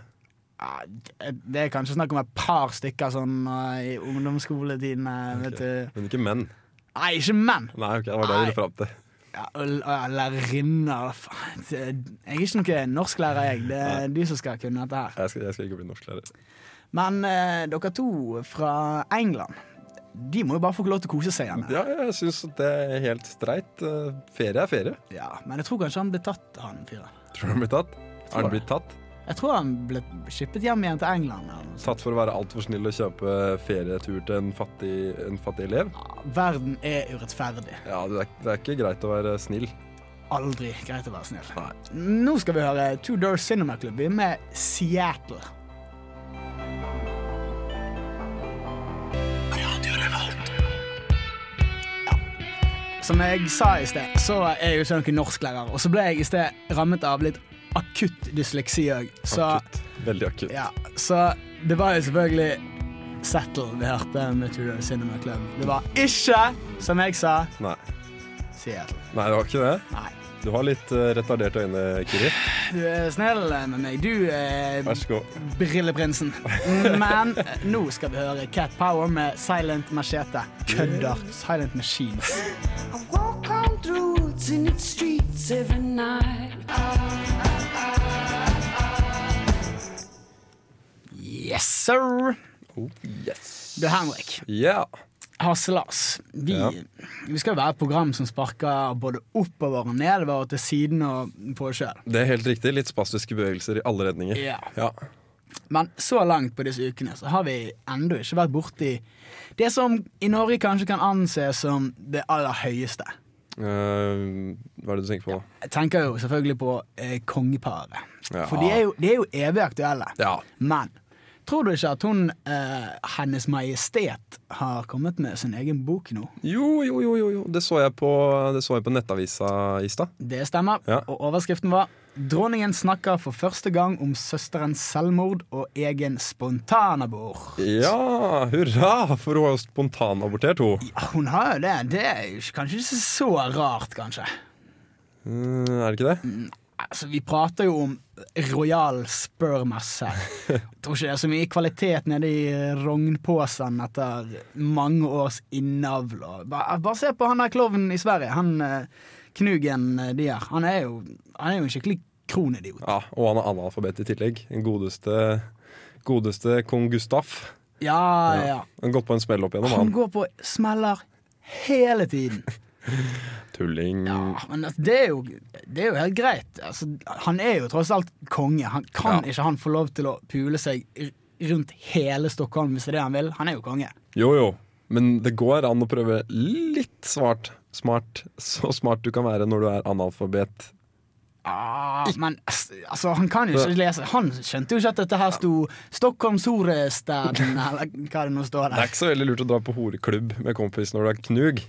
Speaker 3: Det er kanskje snakk om et par stykker sånn eh, i ungdomsskoletiden. eh, Vet du.
Speaker 2: Men ikke menn.
Speaker 3: Nei, ikke menn!
Speaker 2: Nei, ok, det var det jeg
Speaker 3: Nei.
Speaker 2: ville fram til.
Speaker 3: Ja, og l- og Lærerinner faen, det- Jeg er ikke noen norsklærer, jeg. Det er du som skal kunne dette her.
Speaker 2: Jeg skal, jeg skal ikke bli norsklærer.
Speaker 3: Men eh, dere to fra England, de må jo bare få lov til å kose seg igjen.
Speaker 2: Ja, jeg syns det er helt streit. Eh, Ferie er ferie.
Speaker 3: Ja, men jeg tror kanskje han ble tatt, han fyren.
Speaker 2: Tror du han blir tatt? Er han
Speaker 3: det.
Speaker 2: blitt tatt?
Speaker 3: Jeg tror han ble skippet hjem igjen til England. altså, Eller noe sånt.
Speaker 2: Tatt for å være altfor snill og kjøpe ferietur til en fattig, en fattig elev?
Speaker 3: Ja, Verden er urettferdig.
Speaker 2: Ja, det er, det er ikke greit å være snill.
Speaker 3: Aldri greit å være snill. Nå skal vi høre Two Door Cinema Club med Seattle. Ja. Som jeg sa i sted, så er jeg jo ikke noen norsklærer. Og så ble jeg i sted rammet av litt akutt dysleksi òg. Så,
Speaker 2: Akutt. Veldig akutt.
Speaker 3: ja, så det var jo selvfølgelig Settle vi hørte med Two Door Cinema Club. Det var ikke, som jeg sa,
Speaker 2: Nei.
Speaker 3: Seattle.
Speaker 2: Nei, det var ikke det.
Speaker 3: Nei.
Speaker 2: Du har litt eh, retarderte øyne, Kiri.
Speaker 3: Du er snill Eh, med meg. Du er
Speaker 2: Vær så god.
Speaker 3: brilleprinsen. Men eh, nå skal vi høre Cat Power med Silent Machete. Kødder. Silent Machines.
Speaker 7: Walk on through woods in its streets every night.
Speaker 3: Yes, sir!
Speaker 2: Oh, yes.
Speaker 3: Du, Henrik.
Speaker 2: Ja.
Speaker 3: Harselas. Vi,
Speaker 2: Ja.
Speaker 3: vi skal jo være et program som sparker både oppover og nedover og til siden og på oss sjøl.
Speaker 2: Det er helt riktig. Litt spastiske bevegelser i alle retninger.
Speaker 3: Ja.
Speaker 2: Ja.
Speaker 3: Men så langt på disse ukene så har vi ennå ikke vært borti det som i Norge kanskje kan anses som det aller høyeste.
Speaker 2: Eh, hva er det du tenker på nå?
Speaker 3: Jeg tenker jo selvfølgelig på eh, kongeparet.
Speaker 2: Ja.
Speaker 3: For de er, jo, de er jo evig aktuelle.
Speaker 2: Ja.
Speaker 3: Men tror du ikke at hun, eh, Hennes Majestet, har kommet med sin egen bok nå?
Speaker 2: Jo, jo, jo, jo, jo. Det så jeg på, det så jeg på nettavisa i stad.
Speaker 3: Det stemmer.
Speaker 2: Ja.
Speaker 3: Og overskriften var 'Dronningen snakker for første gang om søsterens selvmord og egen spontanabort'.
Speaker 2: Ja, hurra! For hun har jo spontanabortert, hun.
Speaker 3: Ja, hun har jo det. Det er jo ikke- kanskje ikke så rart, kanskje.
Speaker 2: Mm, er det ikke det?
Speaker 3: Altså, vi prater jo om Royal Spurmass her. Jeg tror ikke det er så mye kvalitet nede i eh, rognposen etter mange års innavl. og- Bare, bare se på han der klovnen i Sverige, han eh, Knugen eh, de her. Han er jo, han er jo en skikkelig kronidiot.
Speaker 2: Ja, og han er analfabet i tillegg. Den godeste, godeste kong Gustaf.
Speaker 3: Ja, ja.
Speaker 2: Han har gått på en smell opp igjennom,
Speaker 3: Han
Speaker 2: han.
Speaker 3: går på smeller hele tiden.
Speaker 2: Tulling.
Speaker 3: Ja, men altså, det, er jo, det er jo helt greit. Altså, han er jo tross alt konge. Han kan
Speaker 2: Ja.
Speaker 3: ikke han få lov til å pule seg r- rundt hele Stockholm hvis det er det han vil. Han er jo konge.
Speaker 2: Jo, jo. Men det går an å prøve litt smart. Smart. Så smart du kan være når du er analfabet.
Speaker 3: Ah, men ass- altså, han kan jo ikke lese Han skjønte jo ikke at dette her sto Stockholm Sorestaden, eller hva det nå står
Speaker 2: Det er
Speaker 3: der.
Speaker 2: ikke så veldig lurt å dra på horeklubb med kompis når du er knug.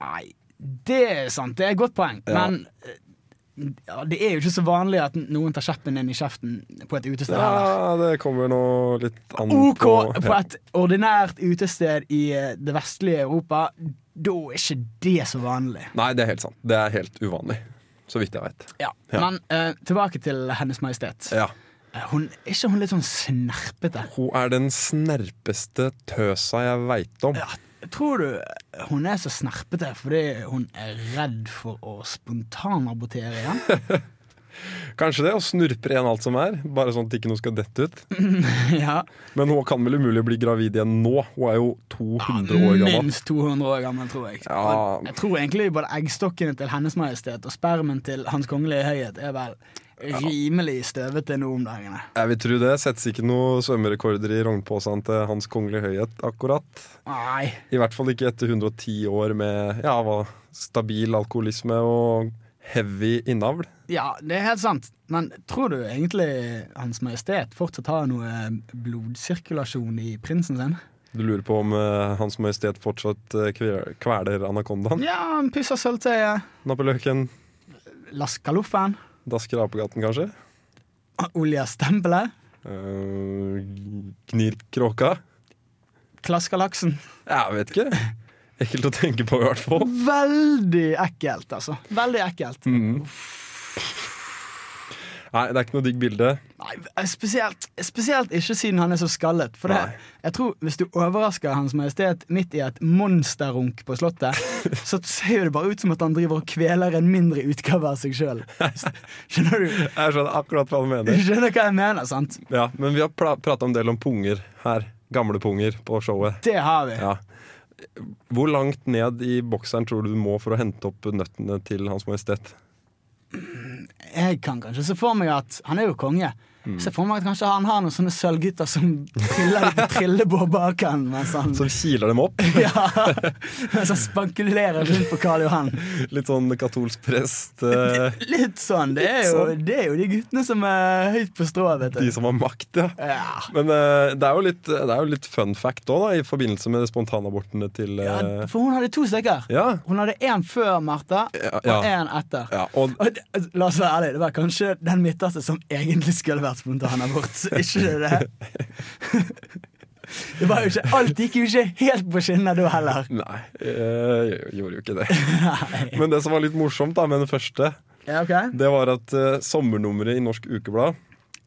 Speaker 3: Nei, det er sant. Det er et godt poeng.
Speaker 2: Ja.
Speaker 3: Men eh, ja, det er jo ikke så vanlig at noen tar kjeppen din i kjeften på et utested. heller.
Speaker 2: Ja, det kommer nå litt an
Speaker 3: OK
Speaker 2: på
Speaker 3: på
Speaker 2: ja.
Speaker 3: et ordinært utested i eh, det vestlige Europa, da er ikke det så vanlig.
Speaker 2: Nei, det er helt sant. Det er helt uvanlig. Så vidt jeg veit.
Speaker 3: Ja.
Speaker 2: Ja.
Speaker 3: Men eh, tilbake til Hennes Majestet.
Speaker 2: Ja.
Speaker 3: Eh, Hun, er ikke hun litt sånn snerpete?
Speaker 2: Hun er den snerpeste tøsa jeg veit om.
Speaker 3: Ja, tror du eh, hun er så snerpete fordi hun er redd for å spontanabortere igjen?
Speaker 2: Kanskje det, og snurper igjen alt som er. Bare sånn at ikke noe skal dette ut.
Speaker 3: ja.
Speaker 2: Men hun kan vel umulig bli gravid igjen nå? Hun er jo 200 år gammel.
Speaker 3: Minst 200 år gammel, tror jeg.
Speaker 2: Ja.
Speaker 3: Og Jeg tror egentlig både eggstokkene til Hennes Majestet og spermen til Hans Kongelige Høyhet er vel rimelig støvete nå om dagene.
Speaker 2: Jeg vil tro det. Settes ikke noen svømmerekorder i rognposen til Hans Kongelige Høyhet, akkurat.
Speaker 3: Nei.
Speaker 2: I hvert fall ikke etter 110 år med ja, hva, stabil alkoholisme og heavy innavl.
Speaker 3: Ja, det er helt sant. Men tror du egentlig Hans Majestet fortsatt har noe eh, blodsirkulasjon i prinsen sin?
Speaker 2: Du lurer på om eh, Hans Majestet fortsatt eh, kver- kveler anakondaen?
Speaker 3: Ja, han pusser sølvtøyet.
Speaker 2: Nappeløken?
Speaker 3: Laskaloffen.
Speaker 2: Dasker apekatten, kanskje?
Speaker 3: Olja stempelet.
Speaker 2: Eh, gnir kråka?
Speaker 3: Klasker laksen.
Speaker 2: Jeg vet ikke. Ekkelt å tenke på, i hvert fall.
Speaker 3: Veldig ekkelt, altså. Veldig ekkelt.
Speaker 2: Nei, det er ikke noe digg bilde.
Speaker 3: Nei, eh, spesielt, spesielt ikke siden han er så skallet. For det,
Speaker 2: Nei.
Speaker 3: jeg tror Hvis du overrasker Hans Majestet midt i et monsterrunk på Slottet, så ser jo det bare ut som at han driver og kveler en mindre utgave av seg sjøl. Skjønner du?
Speaker 2: Jeg skjønner akkurat hva du
Speaker 3: Du
Speaker 2: mener.
Speaker 3: skjønner hva jeg mener, sant?
Speaker 2: Ja, Men vi har pra prata en del om punger her. Gamle punger på showet.
Speaker 3: Det har vi.
Speaker 2: Ja. Hvor langt ned i bokseren tror du du må for å hente opp nøttene til Hans Majestet?
Speaker 3: Jeg kan kanskje se for meg at Han er jo konge.
Speaker 2: Mm.
Speaker 3: Se for meg at kanskje han har noen sånne sølvgutter som triller litt trillebårbaken mens han
Speaker 2: Som kiler dem opp?
Speaker 3: ja, mens han spankulerer rundt på Karl Johan.
Speaker 2: Litt sånn katolsk prest. eh,
Speaker 3: Litt sånn. Det er jo,
Speaker 2: Litt
Speaker 3: det er jo de guttene som er høyt på strået, vet
Speaker 2: De
Speaker 3: du.
Speaker 2: som har makt, ja.
Speaker 3: Ja.
Speaker 2: Men eh, det, er jo litt, det er jo litt fun fact òg, da, i forbindelse med spontanabortene til
Speaker 3: Ja,
Speaker 2: eh,
Speaker 3: For hun hadde to stykker.
Speaker 2: ja.
Speaker 3: Hun hadde én før Martha,
Speaker 2: Ja, ja.
Speaker 3: og én etter.
Speaker 2: ja. Og
Speaker 3: Og det- altså, La oss være ærlige, det var kanskje den midterste som egentlig skulle vært spontanabort. Ikke det? Det var jo ikke, alt gikk jo ikke helt på skinner da heller.
Speaker 2: Nei, eh, jeg gjorde jo ikke det. Men det som var litt morsomt da med den første,
Speaker 3: Ja, ok.
Speaker 2: det var at eh, sommernummeret i Norsk Ukeblad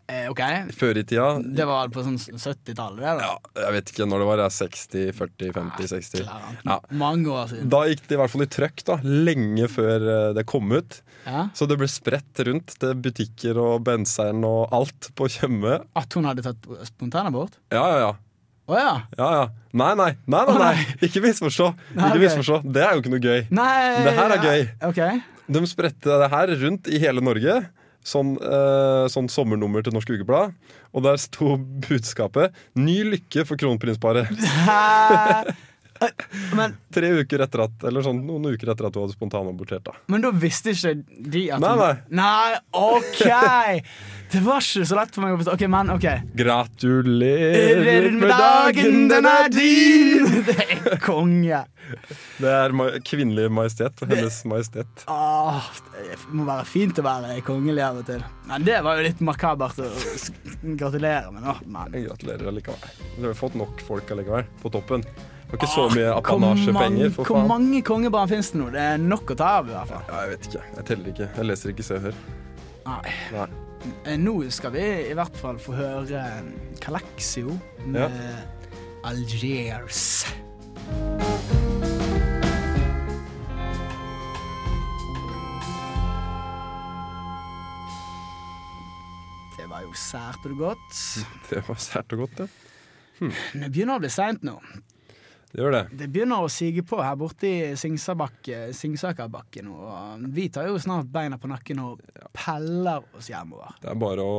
Speaker 3: Eh, ok.
Speaker 2: før i tida
Speaker 3: Det var på sånn 70-tallet, det, da.
Speaker 2: ja, Jeg vet ikke når det var. ja, 60, 40, 50, 60.
Speaker 3: Eller annet.
Speaker 2: Ja.
Speaker 3: Mange år siden.
Speaker 2: Da gikk det i hvert fall i trøkk, da, lenge før eh, det kom ut.
Speaker 3: Ja.
Speaker 2: Så det ble spredt rundt til butikker og benseren og alt på Tjøme.
Speaker 3: At hun hadde tatt spontanabort?
Speaker 2: Ja, ja, ja.
Speaker 3: Å ja.
Speaker 2: ja, ja. Nei, nei, nei, nei, nei. ikke misforstå!
Speaker 3: Nei,
Speaker 2: Ikke
Speaker 3: ok.
Speaker 2: misforstå. Det er jo ikke noe gøy.
Speaker 3: Nei
Speaker 2: Det her er gøy.
Speaker 3: Ok.
Speaker 2: De spredte det her rundt i hele Norge. Sånn, eh, sånn sommernummer til Norsk Ukeblad. Og der sto budskapet 'Ny lykke for kronprinsparet'.
Speaker 3: Hæ? Eh, Men,
Speaker 2: Tre uker etter at, eller sånn noen uker etter at du hadde spontanabortert. da.
Speaker 3: men da visste ikke de at
Speaker 2: Nei,
Speaker 3: hun-
Speaker 2: nei.
Speaker 3: Nei, OK! Det var ikke så lett for meg å forstå. Ok, Men OK.
Speaker 2: Gratulerer med dagen, den er din!
Speaker 3: Det er konge.
Speaker 2: Det er ma kvinnelig majestet. Hennes majestet.
Speaker 3: Åh, Ah, det må være fint å være kongelig av og til. Men det var jo litt makabert å s- gratulere med, nå. Men
Speaker 2: Jeg gratulerer allikevel. Du har jo fått nok folk allikevel, på toppen. Det var ikke så mye apanasjepenger, for
Speaker 3: Ah, Hvor
Speaker 2: faen.
Speaker 3: mange kongebarn finnes det nå? Det er nok å ta av, i hvert fall.
Speaker 2: Ja, jeg vet ikke. Jeg teller ikke. Jeg leser ikke Se og Hør.
Speaker 3: Nei.
Speaker 2: Nei.
Speaker 3: Eh, Nå skal vi i hvert fall få høre Kalexio med Algiers. Det var jo sært og godt.
Speaker 2: Det var sært og godt, det.
Speaker 3: Men det begynner å bli seint nå.
Speaker 2: Det gjør det.
Speaker 3: Det begynner å sige på her borte i Singsabakke- Singsakerbakken, og vi tar jo snart beina på nakken og peller oss hjemover.
Speaker 2: Det er bare å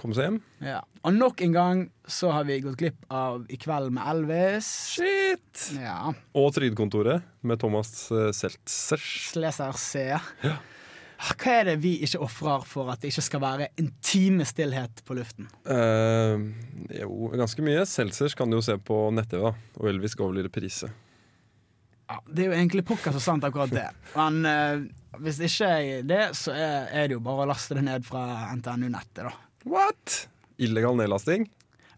Speaker 2: komme seg hjem.
Speaker 3: Ja. Og nok en gang så har vi gått glipp av I kveld med Elvis.
Speaker 2: Shit!
Speaker 3: Ja.
Speaker 2: Og Trygdekontoret med Thomas eh, Seltzers.
Speaker 3: Sleser C. Ah, Hva er det vi ikke ofrer for at det ikke skal være en time stillhet på luften?
Speaker 2: Eh, jo, ganske mye. Seltzers kan du jo se på nett-TV, da. Og Elvis går vel i reprise.
Speaker 3: Ja, det er jo egentlig pokker så sant akkurat det. Men eh, hvis ikke det, så er, er det jo bare å laste det ned fra NTNU-nettet, da.
Speaker 2: What?! Ah. Illegal nedlasting?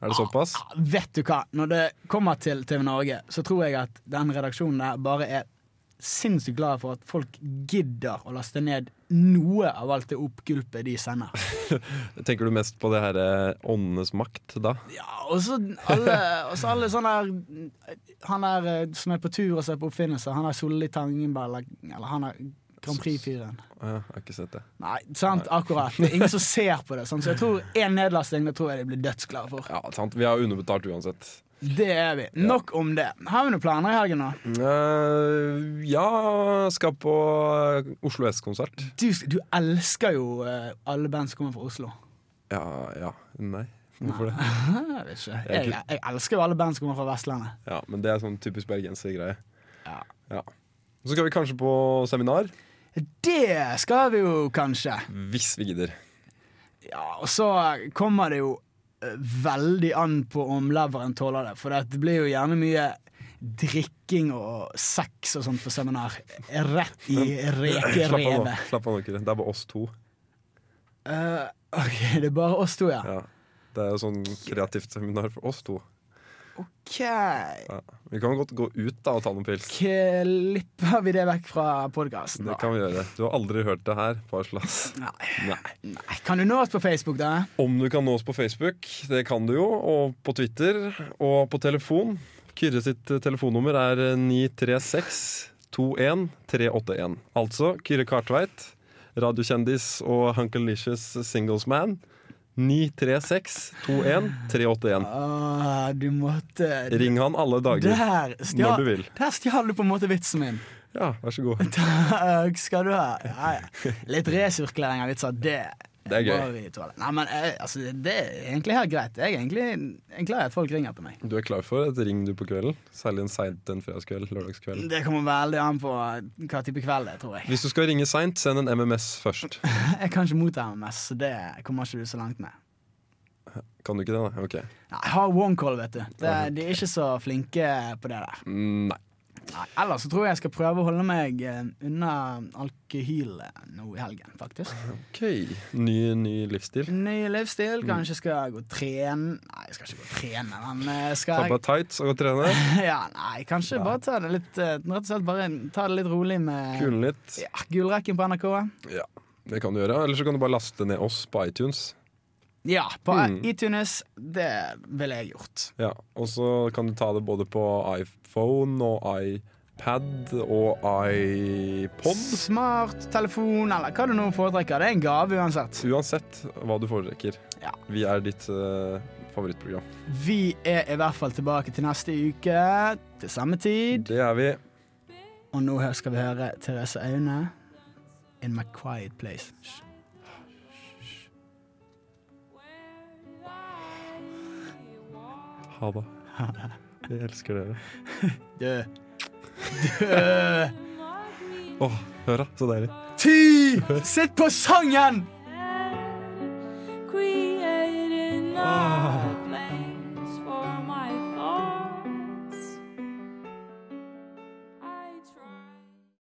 Speaker 2: Er det såpass?
Speaker 3: Ja, Vet du hva, når det kommer til TV Norge, så tror jeg at den redaksjonen der bare er sinnssykt glad for at folk gidder å laste ned noe av alt det oppgulpet de sender.
Speaker 2: Tenker du mest på det her eh, åndenes makt da?
Speaker 3: Ja, og så alle, og så alle sånne der Han der eh, som er på tur og ser på oppfinnelser, han der Solli Tangenberg, eller, eller han der Grand Prix-fyren.
Speaker 2: Ah, ja, jeg har ikke sett det.
Speaker 3: Nei, sant, akkurat. Det er ingen som ser på det, sant? så jeg tror én nedlasting det tror jeg de blir dødsglade for.
Speaker 2: Ja, sant. Vi er underbetalt uansett.
Speaker 3: Det er vi. Nok om det. Har vi noen planer i helgen nå?
Speaker 2: Eh, ja, skal på eh, Oslo S-konsert.
Speaker 3: Du, du elsker jo eh, alle band som kommer fra Oslo.
Speaker 2: Ja, ja, nei. Hvorfor det?
Speaker 3: Jeg, vet ikke. jeg, jeg elsker jo alle band som kommer fra Vestlandet.
Speaker 2: Ja, men det er sånn typisk bergenser-greie.
Speaker 3: Ja.
Speaker 2: Ja. Så skal vi kanskje på seminar.
Speaker 3: Det skal vi jo kanskje.
Speaker 2: Hvis vi gidder.
Speaker 3: Ja, Og så kommer det jo eh, veldig an på om leveren tåler det, for det blir jo gjerne mye drikking og sex og sånt på seminar. Rett i
Speaker 2: Slapp av nå,
Speaker 3: rekerevet.
Speaker 2: slapp av nå, Kyrre. Det er bare oss to.
Speaker 3: Eh, ok, det er bare oss to, ja.
Speaker 2: Ja. Det er jo sånn kreativt seminar for oss to.
Speaker 3: Ok.
Speaker 2: Ja. Vi kan godt gå ut da og ta noen pils.
Speaker 3: Klipper vi det vekk fra podkasten,
Speaker 2: Det
Speaker 3: da?
Speaker 2: kan vi gjøre. Du har aldri hørt det her på Aslas.
Speaker 3: Nei.
Speaker 2: Nei.
Speaker 3: Nei. Kan du nå oss på Facebook, da?
Speaker 2: Om du kan nå oss på Facebook, det kan du jo, og på Twitter, og på telefon. Kyrre sitt eh, telefonnummer er 936-21-381. Altså Kyrre Kartveit, radiokjendis og Hunkelicious Singlesman. 936-21-381.
Speaker 3: Ah, du måtte
Speaker 2: Ring han alle dager.
Speaker 3: Der stjal,
Speaker 2: når du vil.
Speaker 3: Der stjal du på en måte vitsen min.
Speaker 2: Ja, vær så god.
Speaker 3: Takk skal du ha. Ja, ja. Litt resirkulering av vitser, det
Speaker 2: Det er gøy.
Speaker 3: må vi tåle. Nei, men eh, altså, det er egentlig helt greit. Jeg er egentlig jeg er glad i at folk ringer til meg.
Speaker 2: Du er klar for et ring du på kvelden? Særlig en seint en fredagskveld? lørdagskveld.
Speaker 3: Det kommer veldig an på hva type kveld det er, tror jeg.
Speaker 2: Hvis du skal ringe seint, send en MMS først.
Speaker 3: Jeg kan ikke motta MMS, så det kommer ikke du så langt med.
Speaker 2: Kan du ikke det, da? Ok.
Speaker 3: Nei, Jeg har onecall, vet du. Det, de er ikke så flinke på det der.
Speaker 2: Nei.
Speaker 3: Nei, ellers så tror jeg jeg skal prøve å holde meg eh, unna alkohol eh, nå i helgen, faktisk.
Speaker 2: Ok. Ny, ny livsstil.
Speaker 3: Ny
Speaker 2: Mm.
Speaker 3: livsstil. Kanskje skal jeg gå og trene Nei, jeg skal ikke gå og trene, men eh,
Speaker 2: Ta
Speaker 3: skal
Speaker 2: på
Speaker 3: jeg
Speaker 2: deg tights og gå og trene.
Speaker 3: ja, Nei, kanskje bare ta det litt eh, Rett og slett bare ta det litt rolig med
Speaker 2: Kule litt.
Speaker 3: ja, Gullrekken på NRK.
Speaker 2: Ja, det kan du gjøre. Eller så kan du bare laste ned oss på iTunes.
Speaker 3: Ja, på
Speaker 2: Mm.
Speaker 3: iTunes. Det ville jeg gjort.
Speaker 2: Ja, Og så kan du ta det både på iPhone og iPad og iPod.
Speaker 3: Smart telefon, eller hva du nå foretrekker. Det er en gave uansett.
Speaker 2: Uansett hva du foretrekker.
Speaker 3: Ja.
Speaker 2: Vi er ditt eh, favorittprogram.
Speaker 3: Vi er i hvert fall tilbake til neste uke til samme tid.
Speaker 2: Det er vi.
Speaker 3: Og nå her skal vi høre Therese Aune In My Quiet Place. Hysj.
Speaker 2: Ha det. Jeg elsker dere.
Speaker 3: Dø.
Speaker 2: Åh, hør da, så deilig.
Speaker 3: Ty! Sitt på sangen!